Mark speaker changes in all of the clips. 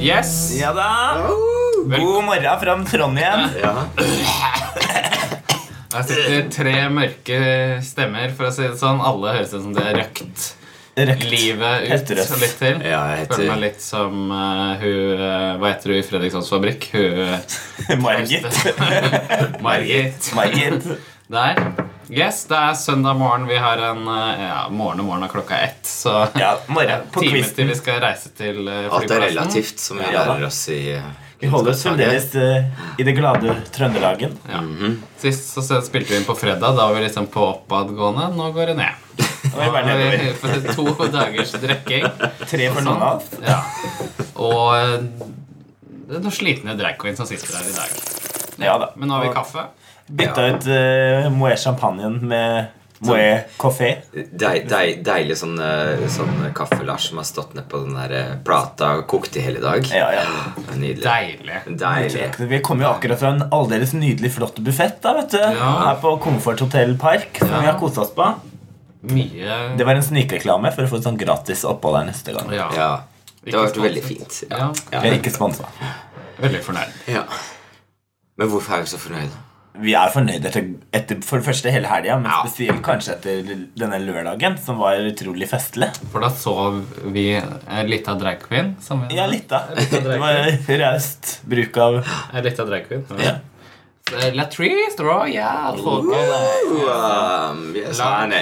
Speaker 1: Yes.
Speaker 2: Ja da. God morgen fra Trondheim.
Speaker 3: Ja.
Speaker 1: Der sitter tre mørke stemmer, for å si det sånn. Alle høres ut som det er røkt
Speaker 2: Røkt.
Speaker 1: livet
Speaker 2: Helt
Speaker 1: ut
Speaker 2: rødt.
Speaker 1: litt til.
Speaker 3: Ja, jeg heter-
Speaker 1: Føler meg litt som eh, hun eh, Hva heter hun i Fredrikssons fabrikk? Hun eh,
Speaker 2: Margit.
Speaker 1: Margit.
Speaker 2: Margit.
Speaker 1: Der. Yes, det er søndag morgen. Vi har en eh, ja, morgen og morgen er klokka ett. Så
Speaker 2: Ja, morgen på
Speaker 1: time
Speaker 2: kvisten.
Speaker 1: til vi skal reise til eh,
Speaker 3: Alt er
Speaker 1: flyplassen.
Speaker 3: relativt, som vi
Speaker 2: Ja da.
Speaker 3: lærer oss i eh,
Speaker 2: Vi holder oss fremdeles eh, i det glade Trøndelagen.
Speaker 1: Ja. Sist så spilte vi inn på fredag. Da var vi liksom på oppadgående. Nå går det ned.
Speaker 2: Nå er vi bare nedover.
Speaker 1: for to dagers drikking.
Speaker 2: Tre
Speaker 1: sånn.
Speaker 2: for noen av oss.
Speaker 1: Ja. Og eh, det er noen slitne drag queens som sitter her i dag.
Speaker 2: Ja da.
Speaker 1: Men nå har vi kaffe.
Speaker 2: Bytta ut uh, Moët champagnen med Moët Coffee.
Speaker 3: Dei, dei, deilig sånn, eh, sånn kaffelasj som har stått ned på den der eh, plata og kokt i hele dag.
Speaker 2: Ja, ja.
Speaker 3: Nydelig.
Speaker 1: Deilig.
Speaker 3: Deilig.
Speaker 2: Vi kom jo akkurat fra en aldeles nydelig flott buffett da, vet du.
Speaker 1: Ja.
Speaker 2: her på Comfort Hotel Park. Som
Speaker 1: Ja.
Speaker 2: vi har kosa oss på.
Speaker 1: Mye
Speaker 2: Det var en snikreklame for å få et sånn gratis opphold her neste gang.
Speaker 1: ja.
Speaker 3: Ja. Det har vært
Speaker 1: Ikke
Speaker 3: veldig
Speaker 1: sponset.
Speaker 3: fint.
Speaker 1: Ja.
Speaker 2: Vi er ikke sponsa.
Speaker 1: Veldig fornøyd.
Speaker 3: Ja. Men hvorfor er vi så fornøyd?
Speaker 2: Vi er fornøyd etter, etter for det første hele helga, men
Speaker 3: Ja.
Speaker 2: spesielt kanskje etter denne lørdagen, som var utrolig festlig.
Speaker 1: For da sov vi en lita drag queen. Som vi
Speaker 2: Ja, litt, da.
Speaker 1: Litt av
Speaker 2: Det var raust bruk av
Speaker 1: En lita drag queen.
Speaker 2: Ja.
Speaker 1: Eh, Latrice Raw, ja. folk-
Speaker 3: Um, vi er sånn,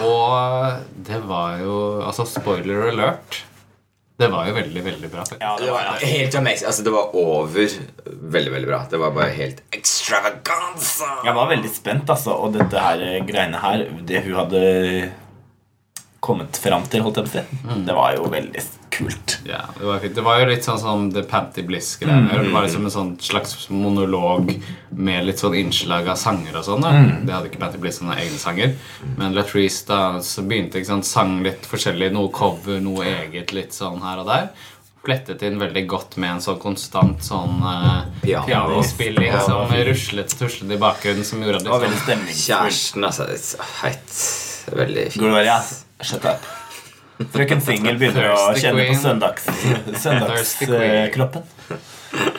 Speaker 1: Og eh, det var jo Altså, spoiler alert. Det var jo veldig, veldig bra.
Speaker 2: Ja,
Speaker 3: Det var helt amazing. Altså, det var over veldig, veldig bra. Det var bare helt extravaganza.
Speaker 2: Jeg var veldig spent, altså, og dette her eh, greiene her, det hun hadde kommet fram til, holdt jeg på å si, det var jo veldig kult.
Speaker 1: Ja, det var fint. Det var jo litt sånn som The Panty Bliss-greier.
Speaker 2: Mm,
Speaker 1: Det var liksom en sånn slags monolog med litt sånn innslag av sanger og sånn. da.
Speaker 2: Mm.
Speaker 1: Det hadde ikke Panty Bliss sånne egne sanger. Men Latrice da, så begynte ikke sant, sang litt forskjellig. Noe cover, noe eget, litt sånn her og der. Plettet inn veldig godt med en sånn konstant sånn uh,
Speaker 3: Piano.
Speaker 1: pianospilling
Speaker 2: Ja.
Speaker 1: som ruslet og tuslet i bakgrunnen, som gjorde at
Speaker 2: Det var
Speaker 1: liksom
Speaker 2: veldig stemningsfullt.
Speaker 3: Kjæresten, altså. det er så Heit. Veldig fint.
Speaker 2: Gloria, shut up. Frøken Singel begynner å
Speaker 1: Thirsty
Speaker 2: kjenne på
Speaker 1: queen.
Speaker 2: søndags-
Speaker 1: Thirsty queen.
Speaker 2: søndagskroppen.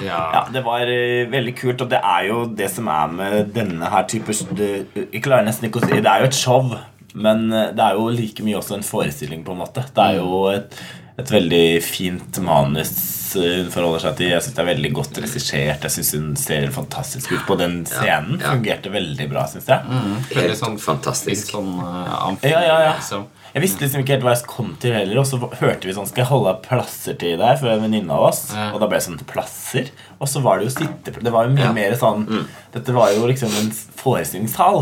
Speaker 2: Ja,
Speaker 1: Ja.
Speaker 2: det var eh, veldig kult, og det er jo det som er med denne her type det, Jeg klarer nesten ikke å si Det er jo et show, men eh, det er jo like mye også en forestilling, på en måte. Det er jo
Speaker 3: Mm.
Speaker 2: et, et veldig fint manus eh, hun forholder seg til. Jeg syns det er veldig godt regissert. Jeg syns hun ser fantastisk ut på den scenen.
Speaker 3: ja. Mm.
Speaker 2: Fungerte veldig bra, syns jeg.
Speaker 1: Veldig
Speaker 3: Helt
Speaker 1: sånn
Speaker 3: fantastisk.
Speaker 1: Litt sånn eh, amfi,
Speaker 2: Ja, ja, ja.
Speaker 1: liksom.
Speaker 2: Jeg visste liksom ikke helt hva jeg kom til heller, og så hørte vi sånn Skal jeg holde av plasser til deg for en venninne av oss?
Speaker 1: Ja.
Speaker 2: Og da ble det sånn Plasser? Og så var det jo sitteplasser Det var jo mye mer sånn Dette var jo liksom en forestillingssal.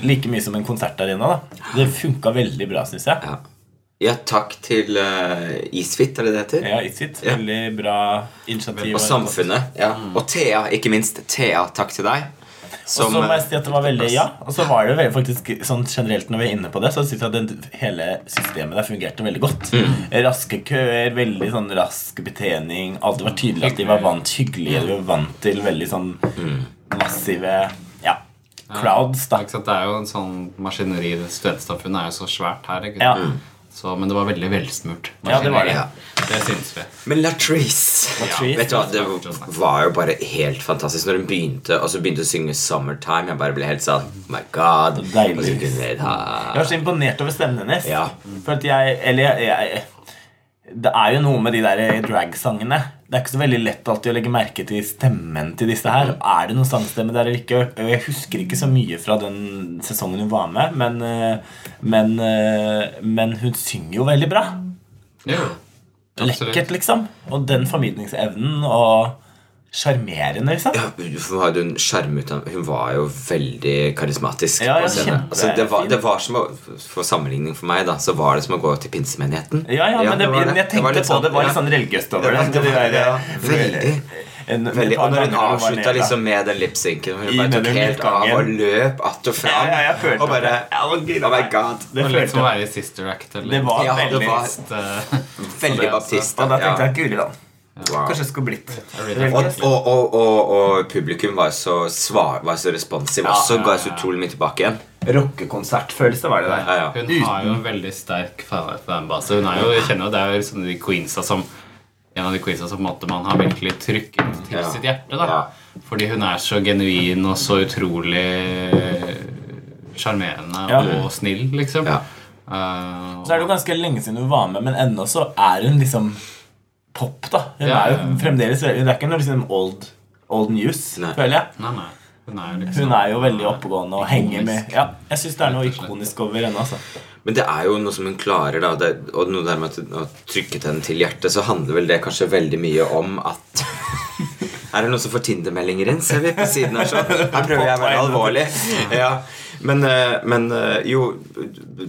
Speaker 2: Like mye som en konsertarena, da. Det funka veldig bra, syns jeg.
Speaker 3: Ja. ja, takk til eh, Isfit, er det det heter?
Speaker 2: Ja, it's it. Veldig bra initiativ.
Speaker 3: Og samfunnet. Ja. Og Thea, ikke minst. Thea, takk til deg.
Speaker 2: Mm. Og
Speaker 3: Som, eh,
Speaker 2: så må jeg si at det var veldig Ja, og så var det veldig faktisk sånn generelt når vi er inne på det, så syns jeg at den, hele systemet der fungerte veldig godt. Raske køer, veldig sånn rask betjening. Alt det var tydelig at de var vant hyggelige, de var vant til veldig sånn massive Ja, crowds, da.
Speaker 1: Ikke sant? Det er jo en sånn maskineri Studentsamfunnet er jo så svært her. Ikke?
Speaker 2: Ja.
Speaker 1: sant? Så, men det var veldig velsmurt.
Speaker 2: Ja, det var det.
Speaker 3: ja.
Speaker 1: Det syns vi.
Speaker 3: Men Latrice
Speaker 2: Latrice.
Speaker 3: Vet du hva, Det var jo bare helt fantastisk Når hun begynte, og så begynte hun å synge 'Summertime'. Jeg bare ble helt sånn oh My God.
Speaker 2: Deilig.
Speaker 3: Og så gikk hun ned her.
Speaker 2: Jeg var så imponert over stemmen hennes.
Speaker 3: Ja.
Speaker 2: For at jeg Eller jeg, jeg det er jo noe med de der eh, drag-sangene. Det er ikke så veldig lett alltid å legge merke til stemmen til disse her.
Speaker 3: Mm.
Speaker 2: Er det noen sangstemme der eller ikke? Og Jeg husker ikke så mye fra den sesongen hun var med, men, eh, men, eh, men hun synger jo veldig bra.
Speaker 1: Jo. Absolutt.
Speaker 2: Lekkert, liksom. Og den formidlingsevnen og sjarmerende, liksom.
Speaker 3: Ja, Hun hadde en sjarm ut av Hun var jo veldig karismatisk.
Speaker 2: Ja, ja,
Speaker 3: på scenen.
Speaker 2: kjempe-
Speaker 3: altså, det, var, det var som å For sammenligning for meg, da, så var det som å gå til pinsemenigheten.
Speaker 2: Ja, ja, men det,
Speaker 3: var
Speaker 2: jeg
Speaker 3: Det var
Speaker 2: tenkte
Speaker 3: litt
Speaker 2: på det var
Speaker 3: ja.
Speaker 2: litt sånn religiøst over
Speaker 3: Det
Speaker 2: det.
Speaker 3: var- det var-
Speaker 2: de der- eh,
Speaker 3: ja, veldig.
Speaker 2: En- et
Speaker 3: Veldig,
Speaker 2: par
Speaker 3: og når hun
Speaker 2: ganger var
Speaker 3: avslutta
Speaker 2: nede, da.
Speaker 3: liksom med den lipsynken Hun
Speaker 2: I
Speaker 3: bare tok
Speaker 2: den
Speaker 3: helt av
Speaker 2: utgangen.
Speaker 3: og løp att og fram.
Speaker 2: Ja, ja, jeg følte
Speaker 3: og bare
Speaker 2: det.
Speaker 3: Oh my god.
Speaker 2: Det
Speaker 1: Det var litt som å
Speaker 2: følte jeg.
Speaker 1: være i Sister Act. Eller
Speaker 2: Det var
Speaker 3: Ja, det
Speaker 2: veldig
Speaker 3: var-
Speaker 1: litt, eh,
Speaker 3: Veldig
Speaker 1: det, altså.
Speaker 3: baptist.
Speaker 2: Og da
Speaker 3: ja.
Speaker 2: tenkte jeg Guri land.
Speaker 3: Wow.
Speaker 2: Kanskje jeg skulle blitt
Speaker 1: really
Speaker 3: Og,
Speaker 2: religiøs.
Speaker 3: og, og, og, og publikum var så, svar, var så responsiv også.
Speaker 1: ja,
Speaker 3: Ga så
Speaker 1: ja.
Speaker 3: utrolig mye tilbake igjen.
Speaker 2: Rockekonsertfølelse var det der.
Speaker 3: Ja, ja.
Speaker 1: Hun har jo en veldig sterk fa- fanbase. Hun er jo, jeg kjenner jo, Det er jo liksom de queensa som en av de quizene som på en måte man har virkelig trykket til
Speaker 3: Ja.
Speaker 1: sitt hjerte. da
Speaker 3: Ja.
Speaker 1: Fordi hun er så genuin og så utrolig eh, sjarmerende
Speaker 2: Ja.
Speaker 1: og snill, liksom.
Speaker 3: Ja.
Speaker 1: Eh,
Speaker 2: Så er det jo ganske lenge siden hun var med, men ennå så er hun liksom pop, da. Hun
Speaker 1: Ja,
Speaker 2: er
Speaker 1: ja,
Speaker 2: jo
Speaker 1: ja.
Speaker 2: fremdeles veldig Det er ikke noe liksom old, old news,
Speaker 3: Nei.
Speaker 2: føler jeg.
Speaker 1: Nei, nei. Hun er, liksom,
Speaker 2: Hun er jo veldig oppegående og henger med.
Speaker 1: Ikonisk.
Speaker 2: Ja, jeg syns det er noe
Speaker 1: Rett og slett.
Speaker 2: ikonisk over henne. altså
Speaker 3: Men det er jo noe som hun klarer, da. Det, og noe der med at å trykke henne til hjertet, så handler vel det kanskje veldig mye om at Er det noen som får Tinder-meldinger inn? Ser vi på siden her sånn? Her prøver jeg å være alvorlig. Ja. Men, eh, men eh, jo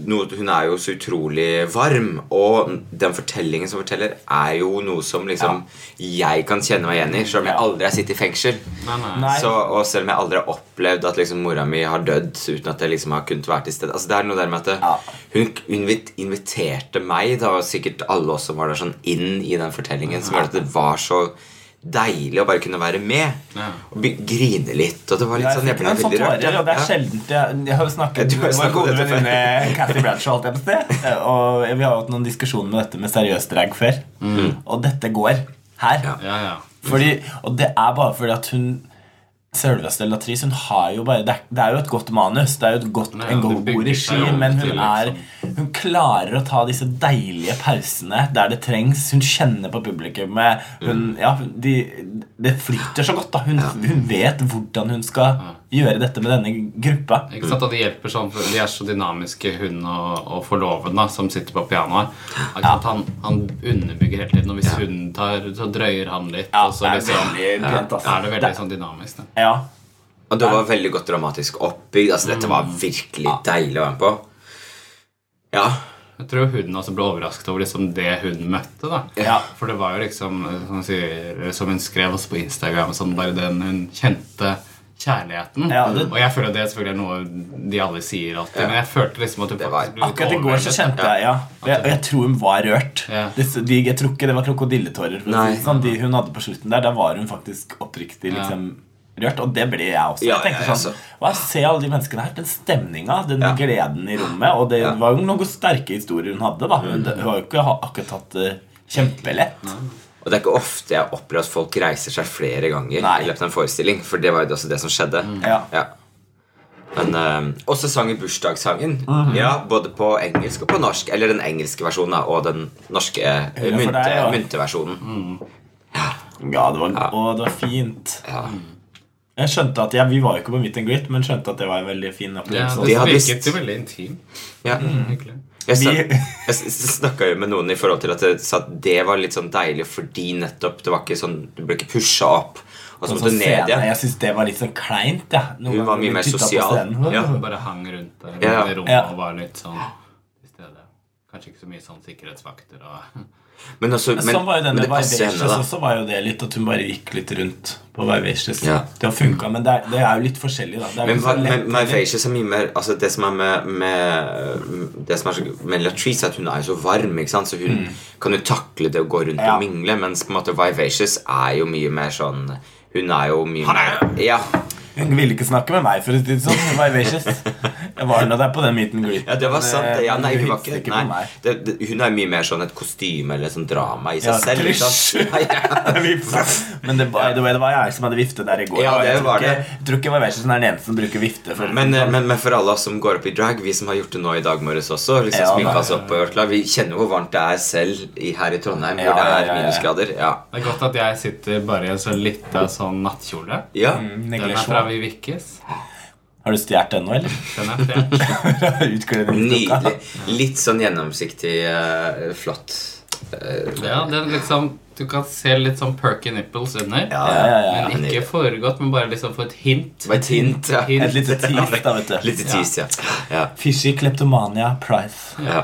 Speaker 3: noe, Hun er jo så utrolig varm, og den fortellingen som forteller, er jo noe som liksom jeg kan kjenne meg igjen i, selv om jeg
Speaker 2: Ja.
Speaker 3: aldri har sittet i fengsel.
Speaker 1: Nei, nei.
Speaker 2: Nei.
Speaker 3: Så, og selv om jeg aldri har opplevd at liksom mora mi har dødd uten at jeg liksom har kunnet være til stede altså, Det er noe der med at det,
Speaker 2: Ja.
Speaker 3: hun invit, inviterte meg, da, og sikkert alle også som var der, sånn inn i den fortellingen, som gjorde at det var så deilig å bare kunne være med.
Speaker 1: Ja.
Speaker 3: Og be- grine litt, og det var litt
Speaker 2: Jeg
Speaker 3: sånn Jeg
Speaker 2: fikk
Speaker 3: ble
Speaker 2: en sånn
Speaker 3: veldig rørt.
Speaker 2: tårer,
Speaker 3: ja.
Speaker 2: og det er
Speaker 3: Ja.
Speaker 2: sjeldent Jeg, jeg har jo snakket
Speaker 3: Jeg tror jeg
Speaker 2: med vår
Speaker 3: snakket om
Speaker 2: gode
Speaker 3: dette før.
Speaker 2: venninne Cathy Bradshaw, holdt jeg på å si. Og vi har jo hatt noen diskusjoner med dette med seriøs drag før. Og dette går her.
Speaker 3: Mm. Ja.
Speaker 1: Ja, ja.
Speaker 2: Fordi, og det er bare fordi at hun Sølveste Latrice, hun har jo bare Det er, det er jo et godt manus. Det er jo et godt,
Speaker 1: Ja,
Speaker 2: en
Speaker 1: det
Speaker 2: god, god
Speaker 1: bygger seg
Speaker 2: regi,
Speaker 1: opp
Speaker 2: men
Speaker 1: til,
Speaker 2: hun er
Speaker 1: liksom.
Speaker 2: Hun klarer å ta disse deilige pausene der det trengs. Hun kjenner på publikummet. Hun,
Speaker 1: Mm.
Speaker 2: ja, hun- de, det flyter så godt. da Hun, hun vet hvordan hun skal gjøre dette med denne gruppa.
Speaker 1: Ikke sant, og det hjelper sånn, for De er så dynamiske, hun og, og forloven da, som sitter på pianoet. Ikke sant, han, han underbygger hele tiden, og hvis hun tar, så drøyer han litt. og så liksom,
Speaker 2: pent, altså.
Speaker 1: da er det veldig sånn dynamisk. Da.
Speaker 2: Ja.
Speaker 3: Og det var veldig godt dramatisk oppbygd. Altså, dette var virkelig
Speaker 2: Mm.
Speaker 3: deilig å være med på. Ja.
Speaker 1: Jeg tror hun også ble overrasket over liksom det hun møtte. da.
Speaker 2: Ja.
Speaker 1: For det var jo liksom, eh, som, hun sier, som hun skrev også på Instagram, sånn bare den hun kjente kjærligheten.
Speaker 2: Ja, det-
Speaker 1: Og jeg føler at det selvfølgelig er noe de alle sier alltid,
Speaker 3: Ja.
Speaker 1: men jeg følte liksom at hun
Speaker 3: Det var-
Speaker 1: faktisk ble litt
Speaker 2: Akkurat i går så
Speaker 1: overveldet.
Speaker 2: kjente jeg ja. Og jeg, og jeg tror hun var rørt.
Speaker 1: liksom. Ja.
Speaker 2: Det, de, jeg tror ikke det var krokodilletårer. for å si
Speaker 3: Nei.
Speaker 2: det Sånn, de hun hadde på slutten der, da var hun faktisk oppriktig
Speaker 1: Ja.
Speaker 2: liksom rørt. Og det ble jeg også.
Speaker 3: Ja,
Speaker 2: jeg tenkte
Speaker 3: ja,
Speaker 2: sånn
Speaker 3: jeg
Speaker 2: Hva, Se alle de menneskene her. Den stemninga, den
Speaker 3: Ja.
Speaker 2: gleden i rommet. Og det var jo noen sterke historier hun hadde. da
Speaker 3: Mm.
Speaker 2: Hun hun har jo ikke ha- akkurat hatt det kjempelett.
Speaker 3: Og det er ikke ofte jeg opplever at folk reiser seg flere ganger
Speaker 2: Nei. Mm.
Speaker 3: i løpet av en forestilling, for det var jo også det som skjedde.
Speaker 2: Ja.
Speaker 3: Men, eh, også sang i bursdagssangen. Ja, Både på engelsk og på norsk. Eller den engelske versjonen da, og den norske eh,
Speaker 2: Hurra for
Speaker 3: mynte,
Speaker 2: deg, ja.
Speaker 3: mynteversjonen.
Speaker 2: Mm. Ja, det var, Og det var fint.
Speaker 3: Ja.
Speaker 2: Jeg skjønte at, ja, Vi var jo ikke på Meet and Greet, men skjønte at det var en veldig fin
Speaker 1: Ja,
Speaker 2: opplevelse.
Speaker 3: De
Speaker 1: det
Speaker 3: hadde
Speaker 1: virket
Speaker 3: visst-
Speaker 1: jo veldig intimt.
Speaker 3: Ja.
Speaker 1: Hyggelig.
Speaker 3: Jeg,
Speaker 2: Vi-
Speaker 3: snak, jeg snakka jo med noen i forhold til at det, sa at det var litt sånn deilig fordi nettopp det var ikke sånn, du ble ikke pusha opp. Og så
Speaker 2: Og så
Speaker 3: måtte du ned
Speaker 2: Altså, scenen,
Speaker 3: igjen.
Speaker 2: Jeg syns det var litt sånn kleint. Ja. Noen
Speaker 3: Hun var
Speaker 2: ganger
Speaker 3: mye mer
Speaker 2: titta på
Speaker 3: sosial.
Speaker 2: scenen.
Speaker 3: Ja.
Speaker 1: Bare hang rundt der
Speaker 3: Ja, ja.
Speaker 1: i rommet
Speaker 2: Ja.
Speaker 1: og var litt sånn til stede. Kanskje ikke så mye sånn sikkerhetsvakter og
Speaker 3: Men, også, men,
Speaker 2: sånn var jo
Speaker 3: men
Speaker 2: denne
Speaker 3: det passer
Speaker 2: Vivacious
Speaker 3: henne, da.
Speaker 2: også. var jo det litt At hun bare gikk litt rundt på Vivacious.
Speaker 3: Ja.
Speaker 2: Det har funka, men det er, det er jo litt forskjellig, da. Det er jo
Speaker 3: Men
Speaker 2: ikke så
Speaker 3: hva-
Speaker 2: lett.
Speaker 3: men My Facious er mye mer altså Det som er med, med Det som er så, med Latrice, er at hun er jo så varm, ikke sant? så hun kan jo takle det å gå rundt
Speaker 2: Ja.
Speaker 3: og mingle, mens på en måte Vivacious er jo mye mer sånn Hun er jo mye mer Ja.
Speaker 2: Hun ville ikke snakke med meg, for å si det sånn. Vivacious. Jeg var nå der på den meet and greet.
Speaker 3: Ja, det var sant. det. Ja,
Speaker 2: men
Speaker 3: nei,
Speaker 2: hun
Speaker 3: eh, hun var
Speaker 2: hilste
Speaker 3: ikke,
Speaker 2: ikke på
Speaker 3: nei.
Speaker 2: meg.
Speaker 3: Det, det, hun er mye mer sånn et kostyme eller sånn drama i seg
Speaker 2: Ja,
Speaker 3: selv. ikke
Speaker 2: trysj.
Speaker 3: sant? Ja, ja.
Speaker 2: Vifta. Men det, by the way, det var jeg som hadde vifte der i går.
Speaker 3: Ja,
Speaker 2: og jeg
Speaker 3: det
Speaker 2: tror
Speaker 3: var
Speaker 2: ikke-
Speaker 3: det.
Speaker 2: Jeg tror ikke Vivacious er den eneste som bruker vifte. For
Speaker 3: Men, eh, men, men for alle oss som går opp i drag, vi som har gjort det nå i dag morges også liksom
Speaker 2: Ja,
Speaker 3: sminket
Speaker 2: nei.
Speaker 3: oss opp og gjort klar, Vi kjenner hvor varmt det er selv i, her i Trondheim, hvor
Speaker 2: Ja,
Speaker 3: det
Speaker 2: ja,
Speaker 3: er
Speaker 2: ja, ja.
Speaker 3: minusgrader. Ja.
Speaker 1: Det er godt at jeg sitter bare i en sånn lita sånn nattkjole.
Speaker 3: ja.
Speaker 1: Den er
Speaker 2: neglisjé.
Speaker 1: fra Vivikkes.
Speaker 2: Har du stjålet den nå, eller?
Speaker 1: Den er fjern.
Speaker 2: Utkledningsklokka.
Speaker 3: Nydelig. Litt sånn gjennomsiktig, eh, flott. Eh,
Speaker 1: Ja, den liksom Du kan se litt sånn perky nipples under.
Speaker 2: Ja, ja, ja.
Speaker 1: Men ikke
Speaker 3: nydelig.
Speaker 1: foregodt, men bare liksom få et hint.
Speaker 3: eh, Det var et hint. Ja.
Speaker 1: Hint.
Speaker 2: Et lite tease, da, vet du.
Speaker 3: Litt tease, ja. ja.
Speaker 2: Fishy Kleptomania Price.
Speaker 3: ja.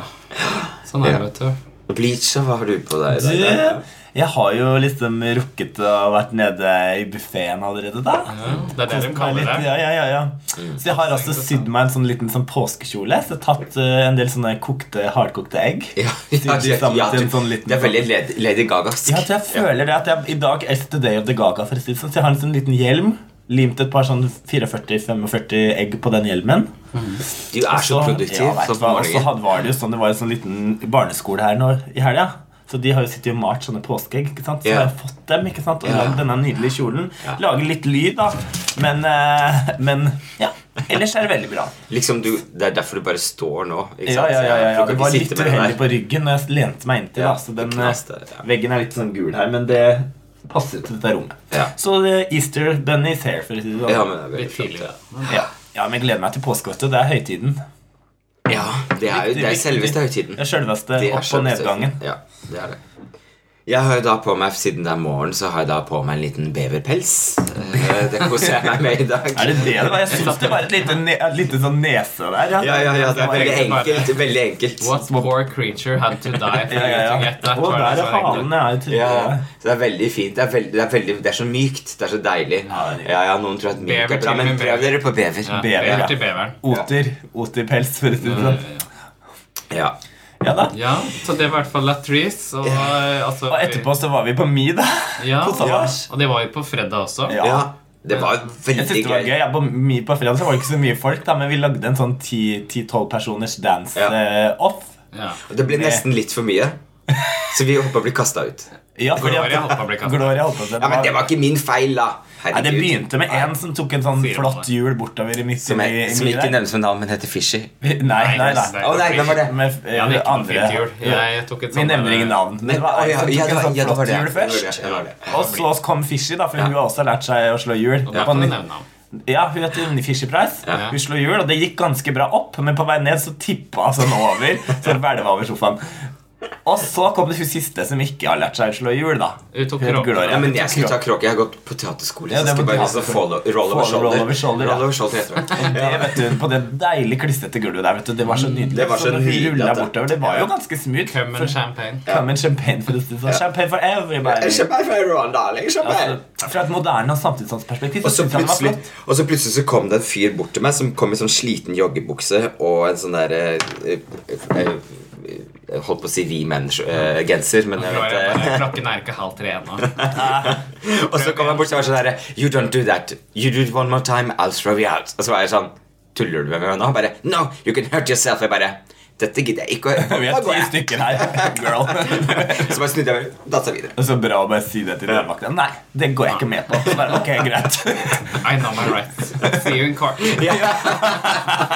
Speaker 1: Sånn er det,
Speaker 3: Ja.
Speaker 1: vet du.
Speaker 3: Bleach, hva har du på deg i dag? da?
Speaker 2: Du, jeg har jo liksom rukket å vært nede i buffeen allerede da.
Speaker 1: Ja, det er det de
Speaker 2: Kost meg
Speaker 1: kaller
Speaker 2: Sånn litt,
Speaker 1: det.
Speaker 2: Ja, ja, ja, ja.
Speaker 3: Mm.
Speaker 2: Så jeg har altså sydd meg en sånn liten sånn påskekjole. Så jeg har tatt eh, en del sånne kokte, hardkokte egg.
Speaker 3: Ja,
Speaker 2: Sydd
Speaker 3: ja,
Speaker 2: de
Speaker 3: det-
Speaker 2: sammen
Speaker 3: ja,
Speaker 2: til en
Speaker 3: du-
Speaker 2: sånn liten
Speaker 3: det er veldig Lady, Lady Gaga-sk.
Speaker 2: Ja, så jeg føler det at jeg i dag er the day of the gaga. For å si det sånn. Så jeg har en sånn liten hjelm. Limt et par sånn 44-45 egg på den hjelmen.
Speaker 3: Du er så
Speaker 2: Så-
Speaker 1: Mhm.
Speaker 3: produktiv.
Speaker 2: Ja, vet du
Speaker 3: sånn på
Speaker 2: hva, og så
Speaker 3: morgenen.
Speaker 2: hadde- var det jo sånn Det var en sånn liten barneskole her nå i helga. Så de har jo sittet og malt sånne påskeegg. ikke sant? Så
Speaker 3: Ja.
Speaker 2: har jeg fått dem ikke sant? og
Speaker 3: Ja.
Speaker 2: lagd denne nydelige kjolen.
Speaker 3: Ja.
Speaker 2: Lager litt lyd, da. Men, eh, men ja. Ellers er det veldig bra.
Speaker 3: Liksom du, Det er derfor du bare står nå. Ikke
Speaker 2: Ja,
Speaker 3: sant?
Speaker 2: ja, ja, ja, ja.
Speaker 3: Du
Speaker 2: Det
Speaker 3: kan
Speaker 2: var
Speaker 3: ikke
Speaker 2: litt
Speaker 3: sitte med den
Speaker 2: uheldig
Speaker 3: der.
Speaker 2: på ryggen når jeg lente meg inntil. da,
Speaker 3: Ja,
Speaker 2: så
Speaker 3: det
Speaker 2: den,
Speaker 3: knaste, ja.
Speaker 2: Veggen er litt sånn gul her, men det passer til dette rommet.
Speaker 3: Ja.
Speaker 2: Så eh, Easter Bunny is here, for å si det sånn.
Speaker 3: Ja, men det er veldig
Speaker 1: Litt tidlig.
Speaker 3: flott,
Speaker 1: da.
Speaker 3: ja.
Speaker 1: Men
Speaker 2: Ja. ja, men jeg gleder meg til påske. vet du. Det er høytiden.
Speaker 3: Mm. Ja, det er jo det er
Speaker 2: Riktig,
Speaker 3: selveste
Speaker 2: riktig.
Speaker 3: høytiden.
Speaker 2: Det er selveste
Speaker 3: Det er
Speaker 2: opp- og
Speaker 3: selveste
Speaker 2: nedgangen.
Speaker 3: høytiden. Ja, det er det. Jeg har jo da på meg, Siden det er morgen, så har jeg da på meg en liten beverpels. Eh, Det koser jeg meg med i dag.
Speaker 2: Er det det det var? Jeg syns det var et lite, ne et lite sånn nese der.
Speaker 3: Ja, ja, ja, det er veldig
Speaker 1: egentlig bare-
Speaker 3: enkelt. Veldig enkelt.
Speaker 1: What poor creature had to die for
Speaker 2: Ja, ja,
Speaker 1: you to
Speaker 2: ja.
Speaker 1: get that?
Speaker 2: Og
Speaker 1: var det
Speaker 2: der
Speaker 1: som
Speaker 2: er
Speaker 1: var enkelt.
Speaker 2: hanen jeg tror
Speaker 3: Ja,
Speaker 2: jeg.
Speaker 3: så Det er veldig fint. Det er, veldig, det, er veldig, det er så mykt. Det er så deilig.
Speaker 2: Ja, det er nydelig.
Speaker 3: Ja, ja, Noen tror at myk
Speaker 1: Bever
Speaker 3: er bra,
Speaker 1: til
Speaker 3: men
Speaker 1: med
Speaker 3: prøv
Speaker 1: bever.
Speaker 3: dere på bever.
Speaker 1: Ja,
Speaker 2: Bever,
Speaker 1: bever
Speaker 2: ja.
Speaker 1: til beveren.
Speaker 2: Oter. Oterpels, for å si det sånn.
Speaker 3: Ja.
Speaker 1: Mm.
Speaker 2: Ja da.
Speaker 1: Ja, så det var i hvert fall Latrice. Og, eh, altså,
Speaker 2: Og etterpå så var vi på Mi, da.
Speaker 1: ja,
Speaker 2: på Savage.
Speaker 1: Og det var jo på fredag også.
Speaker 2: Ja.
Speaker 3: ja. Det var
Speaker 2: Jeg
Speaker 3: veldig
Speaker 2: synes det var
Speaker 3: gøy.
Speaker 2: gøy. Ja, på, Mi på fredag så var det ikke så mye folk, da, men vi lagde en sånn 10-12 personers eh,
Speaker 3: Ja.
Speaker 2: dance-off.
Speaker 1: Ja.
Speaker 3: Og det ble nesten litt for mye, så vi håper å bli kasta ut.
Speaker 2: Ja, fordi at-
Speaker 1: Gloria holdt på å bli kastet.
Speaker 2: Gloria holdt på å bli
Speaker 3: Ja, Men det var ikke min feil, da.
Speaker 2: Nei, Det begynte med en som tok en sånn
Speaker 1: Fire
Speaker 2: flott
Speaker 1: måneder.
Speaker 2: hjul bortover i midt
Speaker 3: Som,
Speaker 2: i,
Speaker 3: jeg,
Speaker 2: i
Speaker 3: som
Speaker 2: Mi
Speaker 3: ikke
Speaker 2: der.
Speaker 3: nevnes med navn, men heter Fishy.
Speaker 2: Vi- Nei, nei, nei.
Speaker 3: Å, nei, hvem var det?
Speaker 2: Med eh,
Speaker 1: Ja, det er ikke noe
Speaker 2: andre
Speaker 1: fint hjul. Jeg tok et
Speaker 2: Vi
Speaker 1: sånt- eh,
Speaker 2: nevner ingen navn. Men det var
Speaker 3: Å,
Speaker 2: en
Speaker 3: ja,
Speaker 2: som
Speaker 3: ja,
Speaker 2: tok
Speaker 3: det
Speaker 2: en
Speaker 3: var- liksom
Speaker 2: sånn
Speaker 3: ja, det var
Speaker 2: flott
Speaker 3: det.
Speaker 2: hjul
Speaker 3: Det var det,
Speaker 2: først.
Speaker 3: det var det.
Speaker 2: Og så kom Fishy, da, for hun har også lært seg å slå hjul.
Speaker 1: Og da kan du nevne ham.
Speaker 2: Ja, hun het Unni Fisher Price.
Speaker 1: Ja.
Speaker 2: Hun slo hjul, og det gikk ganske bra opp, men på vei ned så tippa sånn over. Så det hvelva over sofaen. Og så kom det hun siste som ikke har lært seg å slå hjul, da.
Speaker 1: Hun tok
Speaker 2: Hun het
Speaker 1: kråke.
Speaker 2: Gloria.
Speaker 3: Ja, men jeg skulle ta kråke. Jeg har gått på teaterskole.
Speaker 2: Ja,
Speaker 3: så
Speaker 2: det
Speaker 3: skal
Speaker 2: var
Speaker 3: bare
Speaker 2: teater.
Speaker 3: liksom fall, roll over
Speaker 2: Fall-
Speaker 3: shoulder.
Speaker 2: roll over shoulder, ja.
Speaker 3: Roll over shoulder heter det.
Speaker 2: Det, vet du, på det deilig klissete gulvet der, vet du. Det var så nydelig.
Speaker 3: Mm. Det var så
Speaker 2: når hun
Speaker 3: nydelig
Speaker 2: rullet
Speaker 3: at det-
Speaker 2: bortover. Det var jo
Speaker 3: Ja.
Speaker 2: ganske smooth.
Speaker 1: Cum and champagne.
Speaker 2: Come and champagne for, å si det sånn. champagne for everybody.
Speaker 3: Champagne for everyone, darling. Champagne.
Speaker 2: Altså, fra et moderne og samtidsperspektiv
Speaker 3: Og
Speaker 2: så
Speaker 3: så,
Speaker 2: synes jeg den var
Speaker 3: plutselig,
Speaker 2: flott.
Speaker 3: og så plutselig så kom det en fyr bort til meg som kom i sånn sliten joggebukse og en sånn der eh, eh, eh, eh, Holdt på å si hvit menn-genser, eh, men jeg vet eh,
Speaker 1: Gloria, Klokken er ikke halv tre ennå.
Speaker 3: Og så kom han bort og var sånn derre You don't do that. You do it one more time, I'll throw you out. Og så var jeg sånn Tuller du med meg nå? Han bare No, you can hurt yourself. Jeg bare Dette gidder jeg ikke å høre på.
Speaker 2: Vi
Speaker 3: Da
Speaker 2: er
Speaker 3: går
Speaker 2: ti
Speaker 3: jeg.
Speaker 2: stykker her, girl.
Speaker 3: Så bare snudde jeg meg og dansa videre.
Speaker 2: Det er så bra å bare si det til dørvakta. Nei, det går jeg ikke med på. Så Bare, ok, greit.
Speaker 1: I know my rights. See you in court.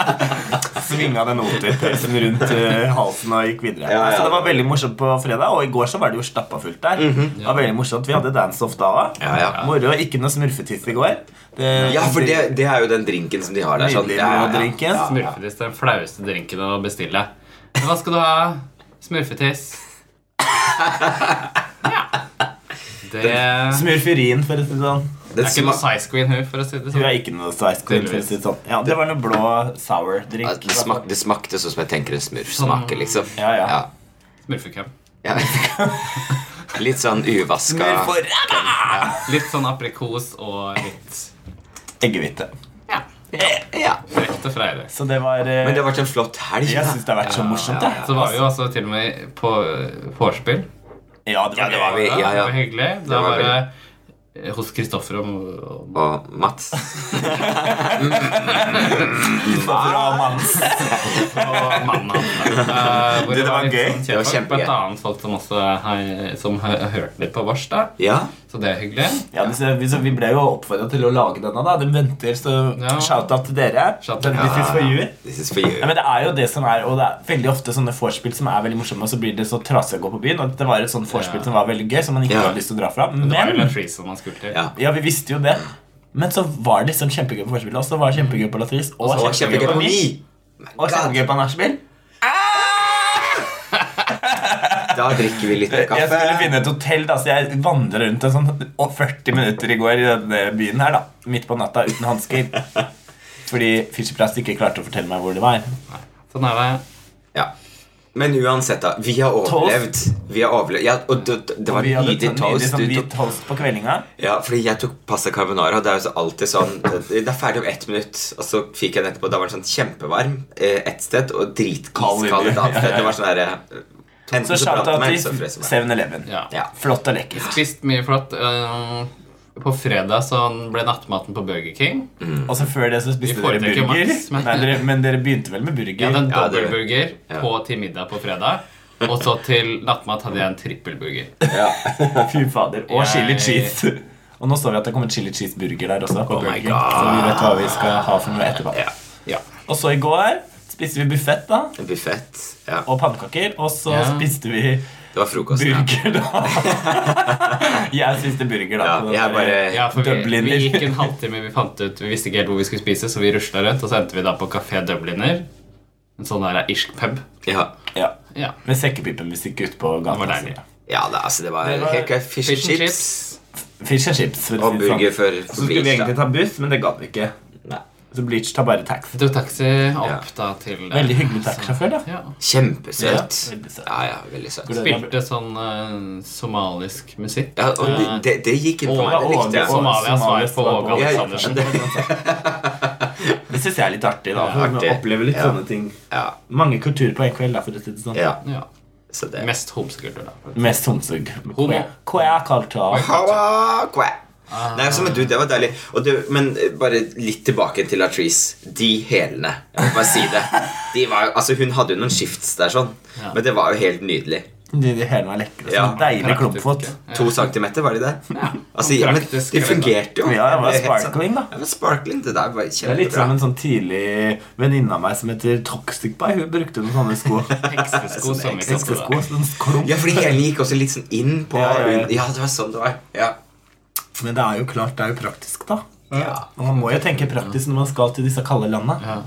Speaker 2: Svinga den oterpølsen rundt eh, halsen og gikk videre.
Speaker 3: Ja, ja.
Speaker 2: Så det var veldig morsomt på fredag, og i går så var det jo stappa fullt der. Det var veldig morsomt. Vi hadde dance-off da òg.
Speaker 3: Mhm. Ja, ja.
Speaker 2: Moro. Ikke noe smurfetiss i går. Det-
Speaker 3: Ja, for det, det er jo den drinken som de har der. Sånn,
Speaker 2: Nydelig
Speaker 3: ja, ja, ja.
Speaker 2: drinken.
Speaker 1: Smurfetiss det er den flaueste drinken å bestille. Men hva skal du ha? Smurfetiss. Ja. Det er
Speaker 2: Smurferien, for å si det sånn.
Speaker 3: Den
Speaker 1: ikke noe
Speaker 3: sma-
Speaker 1: size queen, hun, for å si det
Speaker 2: Hun
Speaker 1: sånn.
Speaker 2: er ikke noe size queen. for å si Det sånn. Ja, det var noe blå sour drink.
Speaker 3: Ja, det, smak, det smakte sånn som jeg tenker en smurf smaker, liksom.
Speaker 2: Ja, ja.
Speaker 1: Smurfecum.
Speaker 3: Ja. Litt sånn uvaska
Speaker 2: Smør for ræva!
Speaker 1: Litt sånn aprikos og litt
Speaker 2: Eggehvite.
Speaker 1: Ja.
Speaker 3: ja.
Speaker 1: Direkte fra Eirik.
Speaker 2: Så det var eh,
Speaker 3: Men det har vært en flott helg.
Speaker 2: Jeg
Speaker 3: da.
Speaker 2: syns det har vært så morsomt, jeg.
Speaker 1: Så var vi jo altså til og med på eh, vorspiel.
Speaker 2: Ja, det var,
Speaker 3: det var
Speaker 2: gøy.
Speaker 3: vi. Ja, ja.
Speaker 1: Det var hyggelig. Det
Speaker 3: var
Speaker 1: var bare hos Kristoffer og, og
Speaker 3: Og Mats.
Speaker 2: Bra, mann.
Speaker 1: og mannen hans. Eh, hvor
Speaker 2: Det var
Speaker 1: litt
Speaker 2: gøy.
Speaker 1: sånn
Speaker 3: Det var
Speaker 1: kjent på
Speaker 3: kjempegøy.
Speaker 1: Et annet folk som også har- som har har hørt litt på vårs, da.
Speaker 3: Ja.
Speaker 1: Så det er hyggelig.
Speaker 2: Ja, det- så vi, så vi ble jo oppfordra til å lage denne, da. Den venter, så
Speaker 1: Ja.
Speaker 2: shout-out til dere.
Speaker 1: Shout-out.
Speaker 2: Den, this is for you.
Speaker 3: This is for you.
Speaker 2: Nei, men Det er jo det som er, og det er veldig ofte sånne vorspiel som er veldig morsomme, og så blir det så trasig å gå på byen. Og det var et sånt vorspiel
Speaker 1: Ja.
Speaker 2: som var veldig gøy, som man ikke
Speaker 3: Ja.
Speaker 2: hadde lyst til å dra fra.
Speaker 1: Det var jo
Speaker 2: Men
Speaker 1: Latrice som man skulle til.
Speaker 3: Ja.
Speaker 2: Ja, vi visste jo det. Men så var det liksom kjempegøy på vorspielet, og så var det kjempegøy på Latris, og,
Speaker 3: Og kjempegøy på
Speaker 2: Mi,
Speaker 3: Mi.
Speaker 2: og kjempegøy på nachspiel.
Speaker 3: Da drikker vi litt
Speaker 2: Jeg
Speaker 3: kaffe.
Speaker 2: skulle finne et hotell, da, så jeg vandra rundt en sånn og 40 minutter i går i denne byen her, da. Midt på natta uten hansker. Fordi Fisher Price ikke klarte å fortelle meg hvor det var.
Speaker 1: Sånn er det.
Speaker 3: Ja. Men uansett, da. Vi har overlevd. Vi har overlevd. Ja, og det, det- det var
Speaker 2: Vi hadde
Speaker 3: nydelig
Speaker 2: sånn nydelig
Speaker 3: toast.
Speaker 2: sånn
Speaker 3: Du
Speaker 2: hvit
Speaker 3: tok,
Speaker 2: toast på kveldinga.
Speaker 3: ja, fordi jeg tok pasta carbonara. Det er jo så alltid sånn Det er ferdig om ett minutt, og så fikk jeg den etterpå. Da var den sånn kjempevarm eh, ett sted og
Speaker 2: Kald i
Speaker 3: dritiskald et annet
Speaker 2: byen.
Speaker 3: sted. Det var sånn derre eh, Enten
Speaker 2: Så
Speaker 3: så brant
Speaker 2: shouta
Speaker 3: det meg, eller så
Speaker 2: til
Speaker 3: frøs det meg.
Speaker 2: 7-Eleven.
Speaker 1: Ja.
Speaker 3: Ja.
Speaker 2: Flott og lekkert.
Speaker 1: Spist mye flott. eh, På fredag så ble nattmaten på Burger King.
Speaker 3: Mhm. Mm.
Speaker 2: Og så før det så
Speaker 1: Vi
Speaker 2: spiste dere
Speaker 1: foretrekker
Speaker 2: burger.
Speaker 1: Max, men-
Speaker 2: Nei, dere, men dere begynte vel med burger?
Speaker 1: Jeg hadde en
Speaker 3: Ja, det-
Speaker 1: dobbeltburger
Speaker 3: ja.
Speaker 1: på til middag på fredag. Og så til nattmat hadde jeg en trippelburger.
Speaker 2: Fy fader. Og chili
Speaker 1: Jeg-
Speaker 2: cheese. Og nå så vi at det kommer chili cheese burger der også.
Speaker 1: Oh
Speaker 2: På
Speaker 1: my
Speaker 2: Burger King,
Speaker 1: God.
Speaker 2: Så vi vet hva vi skal ha for noe etterpå.
Speaker 1: Ja. ja.
Speaker 2: Og så i går spiste vi buffett da,
Speaker 3: En buffett. Ja.
Speaker 2: og pannekaker. Og så
Speaker 1: Ja.
Speaker 2: spiste vi
Speaker 3: Det var frokost. Ja.
Speaker 2: burger, da. jeg spiste burger, da.
Speaker 3: Ja,
Speaker 2: på den
Speaker 3: jeg
Speaker 2: der-
Speaker 3: bare
Speaker 1: Ja, for vi,
Speaker 2: Dubliner.
Speaker 1: vi gikk en halvtime, vi fant ut Vi visste ikke helt hvor vi skulle spise, så vi rusla rundt. Og så endte vi da på Kafé Dubliner. En sånn der irsk pub.
Speaker 3: Ja,
Speaker 2: ja.
Speaker 1: Ja.
Speaker 2: Med sekkepipemusikk ute på
Speaker 1: Det
Speaker 2: gata.
Speaker 1: var deilig.
Speaker 3: ja det, altså, det var
Speaker 2: Det var-
Speaker 3: helt greit. Fish and
Speaker 1: Fish and
Speaker 3: chips.
Speaker 1: chips.
Speaker 2: Fish and chips. for å
Speaker 3: Og
Speaker 2: si det
Speaker 3: burger
Speaker 2: sånn.
Speaker 3: for
Speaker 2: Så skulle vi egentlig ta buss, men det gadd vi ikke.
Speaker 3: Nei.
Speaker 2: Så Bleach tar bare taxi.
Speaker 1: Du tok taxi opp
Speaker 3: Ja.
Speaker 1: da til eh,
Speaker 2: Veldig hyggelig taxisjåfør, da.
Speaker 1: Ja.
Speaker 3: Kjempesøt.
Speaker 2: Ja, veldig søt.
Speaker 3: Ja, ja, veldig søt.
Speaker 1: Spilte sånn eh, somalisk musikk.
Speaker 3: Ja, og det, det, det gikk inn på meg. Det likte jeg.
Speaker 2: og-
Speaker 1: Somalia svar
Speaker 2: Somalia
Speaker 1: på
Speaker 2: svar på-
Speaker 1: Åge
Speaker 3: Jeg-
Speaker 1: Aleksandersen.
Speaker 2: Det syns jeg er litt artig, da. For
Speaker 3: artig.
Speaker 2: å oppleve litt
Speaker 3: Ja.
Speaker 2: sånne ting.
Speaker 3: Ja,
Speaker 2: Mange kulturer på en kveld, da, for å si det sånn.
Speaker 3: ja,
Speaker 1: Ja.
Speaker 3: så det
Speaker 1: Mest homsekultur, da.
Speaker 2: Mest homsugg.
Speaker 1: Homo.
Speaker 2: Queer-culture.
Speaker 3: Hawa, kvæ. Nei, altså, men du, Det var deilig. Og du, men eh, bare litt tilbake til Latrice. De hælene. Jeg må bare si det. De var, jo- altså, hun hadde jo noen shifts der, sånn.
Speaker 1: Ja.
Speaker 3: Men det var jo helt nydelig.
Speaker 2: De de hælene er lekre.
Speaker 3: Ja.
Speaker 2: Sånn deilig klumpfot.
Speaker 1: Praktisk.
Speaker 3: To centimeter, var de det?
Speaker 1: Ja.
Speaker 3: Altså, ja, men
Speaker 1: Praktisk,
Speaker 3: det
Speaker 1: eller noe.
Speaker 3: fungerte jo.
Speaker 2: Ja, det var
Speaker 3: Det er helt sant.
Speaker 2: sparkling, da.
Speaker 3: Ja, men sparkling, det der var
Speaker 2: Det er litt som
Speaker 3: kjempebra.
Speaker 2: en sånn tidlig venninne av meg som heter Toxic Bye. Hun brukte noen sånne sko.
Speaker 3: Sånn
Speaker 1: Heksesko, som vi kalte
Speaker 2: Heksesko.
Speaker 1: det.
Speaker 2: Sånn klump.
Speaker 3: Ja, fordi hælene gikk også litt sånn inn på
Speaker 2: Ja, ja, ja.
Speaker 3: Ja, det var sånn det var. Ja.
Speaker 2: Men det er jo klart, det er jo praktisk, da.
Speaker 3: Ja.
Speaker 2: Og man må jo tenke praktisk når man skal til disse kalde landa.
Speaker 1: Ja.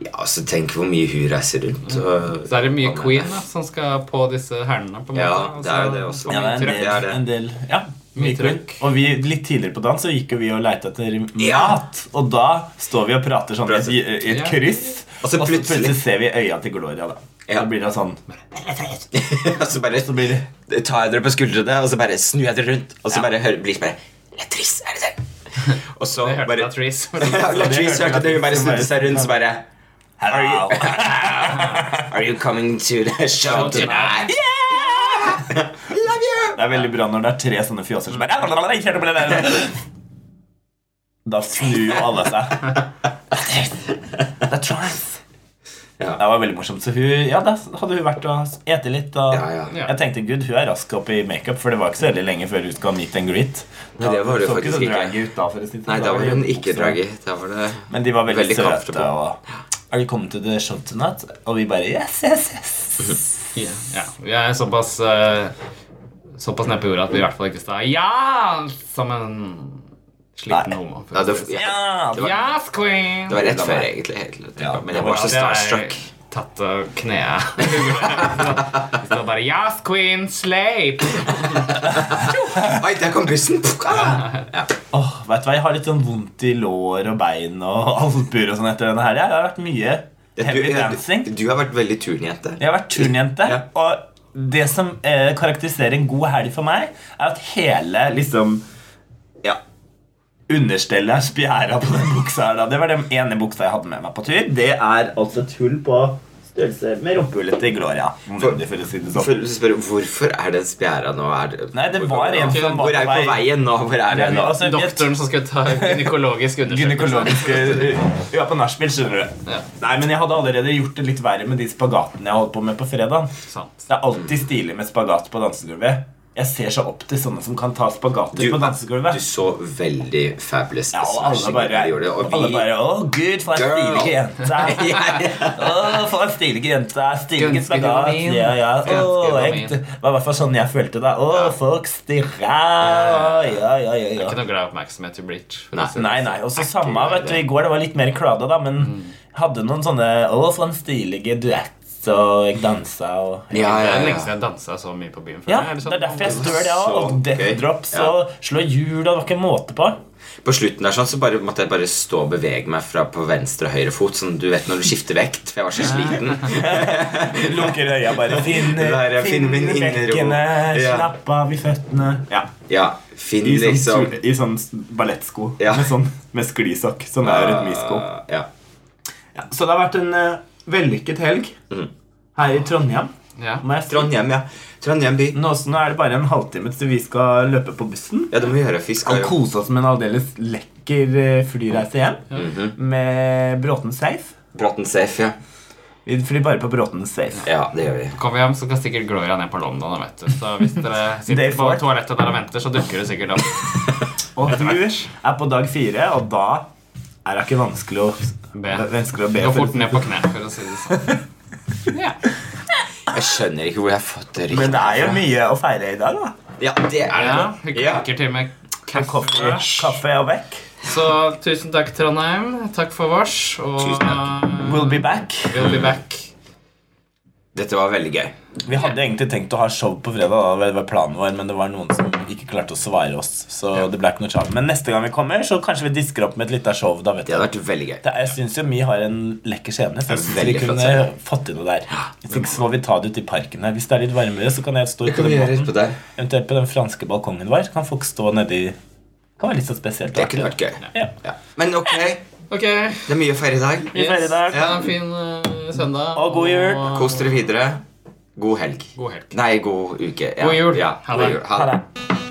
Speaker 3: Ja, altså tenk hvor mye hun reiser rundt. Og,
Speaker 1: Mm. Så er det mye
Speaker 3: og-
Speaker 1: queen da, som skal på disse hælene. på en måte.
Speaker 3: Ja, det er jo det også.
Speaker 1: og
Speaker 2: Ja, det er en
Speaker 1: mye
Speaker 2: del,
Speaker 1: trøkk.
Speaker 3: det er det.
Speaker 2: En del ja, mye
Speaker 1: Mye
Speaker 2: trøkk.
Speaker 1: trøkk.
Speaker 2: Og vi, litt tidligere på dagen så gikk jo vi og leita etter mat. Og da står vi og prater sånn i et, i et
Speaker 1: Ja.
Speaker 2: kryss,
Speaker 3: Og så plutselig-
Speaker 2: ser vi øya til Gloria. Da
Speaker 3: Ja.
Speaker 2: Da blir det sånn
Speaker 3: og så bare
Speaker 2: Så blir det
Speaker 3: tar jeg dere på skuldrene, og så bare snur jeg dere rundt. Og så
Speaker 2: Ja.
Speaker 3: bare hører, blir det bare Latrice, er det det? Og så
Speaker 1: Det hørte
Speaker 3: bare
Speaker 1: jeg at Reese
Speaker 3: Ja, Latrice hørte det, hun bare snudde seg rundt, så bare Are you, are you coming to the show tonight? Yeah! Love you!
Speaker 2: Det er veldig bra når det er tre sånne fjoser som bare Da snur jo alle seg. Det er Charles.
Speaker 3: Ja.
Speaker 2: Det var veldig morsomt. Så hun, ja, da hadde hun vært og ete litt. Og
Speaker 3: Ja, ja.
Speaker 1: Ja.
Speaker 2: Jeg tenkte gud, hun er rask opp i makeup, for det var ikke så veldig lenge før hun skal meet and greet.
Speaker 3: Nei, det var det
Speaker 2: så
Speaker 3: faktisk
Speaker 2: ikke.
Speaker 3: ikke.
Speaker 2: så draggy ut da, for å si det sånn.
Speaker 3: Nei, da var hun ikke
Speaker 2: så-
Speaker 3: draggy. Da var det
Speaker 2: Men de var veldig,
Speaker 3: Veldig
Speaker 2: søte.
Speaker 3: comfortable.
Speaker 2: Og, er du kommet til the show tonight? Og vi bare yes, yes, yes.
Speaker 1: Ja, ja. Vi er såpass eh, Såpass nede på jorda at vi i hvert fall ikke sa ja som en sliten
Speaker 2: Nei.
Speaker 1: homo.
Speaker 3: ja, det, ja,
Speaker 2: Ja,
Speaker 3: det
Speaker 1: sånn.
Speaker 3: var-
Speaker 1: Yes, queen!
Speaker 3: det var rett før, egentlig. Helt,
Speaker 2: Ja,
Speaker 3: men
Speaker 2: det
Speaker 3: jeg var
Speaker 2: var-
Speaker 3: så
Speaker 1: det er
Speaker 3: starstruck.
Speaker 1: Tatt av kneet. Det står bare Yes, queen, slape!
Speaker 3: Oi, der kom bussen! Ah! Ja.
Speaker 2: Åh, vet du hva, Jeg har litt sånn vondt i lår og bein og albuer og sånn etter denne her. Jeg har vært mye heavy dancing.
Speaker 3: Du, du har vært veldig turnjente.
Speaker 2: Jeg har vært turnjente.
Speaker 3: Ja.
Speaker 2: Og det som eh, karakteriserer en god helg for meg, er at hele liksom
Speaker 3: Ja.
Speaker 2: understellet er spjæra på den buksa her. da Det var den ene buksa jeg hadde med meg på tur. Det er altså et hull på størrelse med rumpehullet til Gloria. Om
Speaker 3: For-
Speaker 2: det- for å si det
Speaker 3: For,
Speaker 2: sånn.
Speaker 3: å spørre, hvorfor er den spjæra nå? Er det,
Speaker 2: Nei, det var en
Speaker 3: hvor,
Speaker 2: som var
Speaker 3: hvor er vi
Speaker 2: på
Speaker 3: på veien nå? Hvor er vi nå?
Speaker 2: Altså, jeg-
Speaker 1: Doktoren som skulle ta gynekologisk undersøkelse.
Speaker 2: Gynekologiske Ja, på nachspiel, skjønner du.
Speaker 1: Ja.
Speaker 2: Nei, men jeg hadde allerede gjort det litt verre med de spagatene jeg holdt på med på fredag.
Speaker 1: Sant.
Speaker 2: Det er alltid stilig med spagat på dansegulvet. Jeg ser så opp til sånne som kan ta spagater
Speaker 3: Du-
Speaker 2: på dansegulvet.
Speaker 3: Du så veldig fabulous
Speaker 2: Ja, og alle
Speaker 3: smashing
Speaker 2: bare,
Speaker 3: ut når du gjorde det, og
Speaker 2: alle
Speaker 3: vi-
Speaker 2: bare Å, gud, for en
Speaker 3: Girl!»
Speaker 2: stilig jente!
Speaker 3: Ja,
Speaker 2: Å, for en stilig jente! Stilig
Speaker 1: Ganske
Speaker 2: spagat!
Speaker 1: human.
Speaker 2: Ja, ja. Å,
Speaker 1: Ganske
Speaker 2: jeg, det var i hvert fall sånn jeg følte det. Å, folk stirra! Ja, ja, ja. ja.
Speaker 1: Ikke noe glad oppmerksomhet til Bleach. for å
Speaker 3: Nei. Mm.
Speaker 1: si det.
Speaker 2: Nei, nei, også samme,
Speaker 3: greit,
Speaker 2: vet du, i går det var litt mer klada da, men jeg hadde noen sånne, å, for en stilige duett, og jeg dansa, og...
Speaker 3: ja,
Speaker 1: Det
Speaker 3: ja,
Speaker 1: er lenge siden
Speaker 3: ja.
Speaker 1: jeg dansa så mye på byen før.
Speaker 2: Ja,
Speaker 1: Er
Speaker 2: det
Speaker 1: sånn?
Speaker 2: er derfor jeg stør det
Speaker 3: Så
Speaker 2: også, og death
Speaker 3: gøy.
Speaker 2: drops,
Speaker 3: Ja.
Speaker 2: og slå hjul, og det var ikke måte på.
Speaker 3: På slutten der sånn, så bare, måtte jeg bare stå og bevege meg fra på venstre og høyre fot. Sånn du vet når du skifter vekt, for jeg var så sliten.
Speaker 2: Lukker øya bare, finner,
Speaker 3: Der, jeg finner min innerro.
Speaker 2: bekkene,
Speaker 3: Ja.
Speaker 2: slapp av i føttene. Ja,
Speaker 3: Ja, Finn
Speaker 2: i sånn,
Speaker 3: liksom
Speaker 2: tur- i sånn s- ballettsko,
Speaker 3: Ja. Ah.
Speaker 2: med sånn, med sklisokk, sånn er rytmisko.
Speaker 3: Ja.
Speaker 2: Ja, så det har vært en eh, vellykket helg,
Speaker 3: Mm.
Speaker 2: her i Trondheim,
Speaker 1: Ja.
Speaker 2: må jeg si.
Speaker 3: Trondheim, ja. Trondheim by.
Speaker 2: Nå, så nå er det bare en halvtime til vi skal løpe på bussen.
Speaker 3: Ja, det må vi gjøre. Vi skal
Speaker 2: Og
Speaker 3: jo
Speaker 2: kose oss med en aldeles
Speaker 1: Mhm.
Speaker 2: lekker eh, flyreise hjem. Med Bråten Safe.
Speaker 3: Bråten safe, ja.
Speaker 2: Vi flyr bare på Bråten safe.
Speaker 3: Ja, det gjør vi.
Speaker 1: Kommer vi hjem, så skal sikkert Gloria ned på London. Vet du. Så hvis dere
Speaker 2: Day
Speaker 1: sitter på
Speaker 2: four.
Speaker 1: toalettet der og venter, så dukker det sikkert opp.
Speaker 2: Og du er på dag fire, og da er det ikke vanskelig å
Speaker 1: Be.
Speaker 2: Vanskelig å be
Speaker 1: Gå
Speaker 2: for-
Speaker 1: fort ned på kne, for å si det sånn. Ja.
Speaker 3: Jeg skjønner ikke hvor jeg har fått det
Speaker 2: Men det
Speaker 3: riktig.
Speaker 2: er jo mye å feire i dag, da.
Speaker 3: Ja, det
Speaker 1: Er
Speaker 3: er
Speaker 1: det
Speaker 3: det.
Speaker 1: det? Vi
Speaker 3: Ja.
Speaker 1: klikker til med
Speaker 2: Kaffe,
Speaker 1: kaffe.
Speaker 2: kaffe og vekk.
Speaker 1: Så tusen takk, Trondheim. Takk for vårs. Og eh,
Speaker 3: Tusen takk.
Speaker 2: We'll be back.
Speaker 1: we'll be back.
Speaker 3: Dette var veldig gøy.
Speaker 2: Vi hadde egentlig tenkt å ha show på fredag, da, det var planen vår, men det var noen som ikke klarte å svare oss. Så det ble ikke noe show. Men neste gang vi kommer, så kanskje vi disker opp med et lite show. da vet
Speaker 3: Det
Speaker 2: jeg.
Speaker 3: hadde vært veldig gøy.
Speaker 2: Det, jeg syns jo vi har en lekker scene. Så jeg synes vi
Speaker 3: Veldig flott
Speaker 2: kunne
Speaker 3: scene.
Speaker 2: fått til noe der. Hvis ikke så må vi ta det ut i parken her. Hvis det er litt varmere, så kan jeg stå ute på den
Speaker 3: gjøre
Speaker 2: måten.
Speaker 3: utpå der.
Speaker 2: Eventuelt på den franske balkongen vår. Kan folk stå nedi Kan være litt så spesielt.
Speaker 3: Det kunne vært gøy.
Speaker 2: Ja.
Speaker 3: Ja. Men ok,
Speaker 1: Ok.
Speaker 3: det er mye å feire i dag.
Speaker 2: Vi feirer i dag.
Speaker 1: Ha en fin eh, søndag.
Speaker 2: Og god jul.
Speaker 1: og
Speaker 3: Kos dere videre. God helg.
Speaker 1: God helg.
Speaker 3: Nei, god uke. Ja.
Speaker 1: God jul.
Speaker 3: Ja.
Speaker 1: Ha det.
Speaker 3: God jul. Ha det.
Speaker 2: Ha det.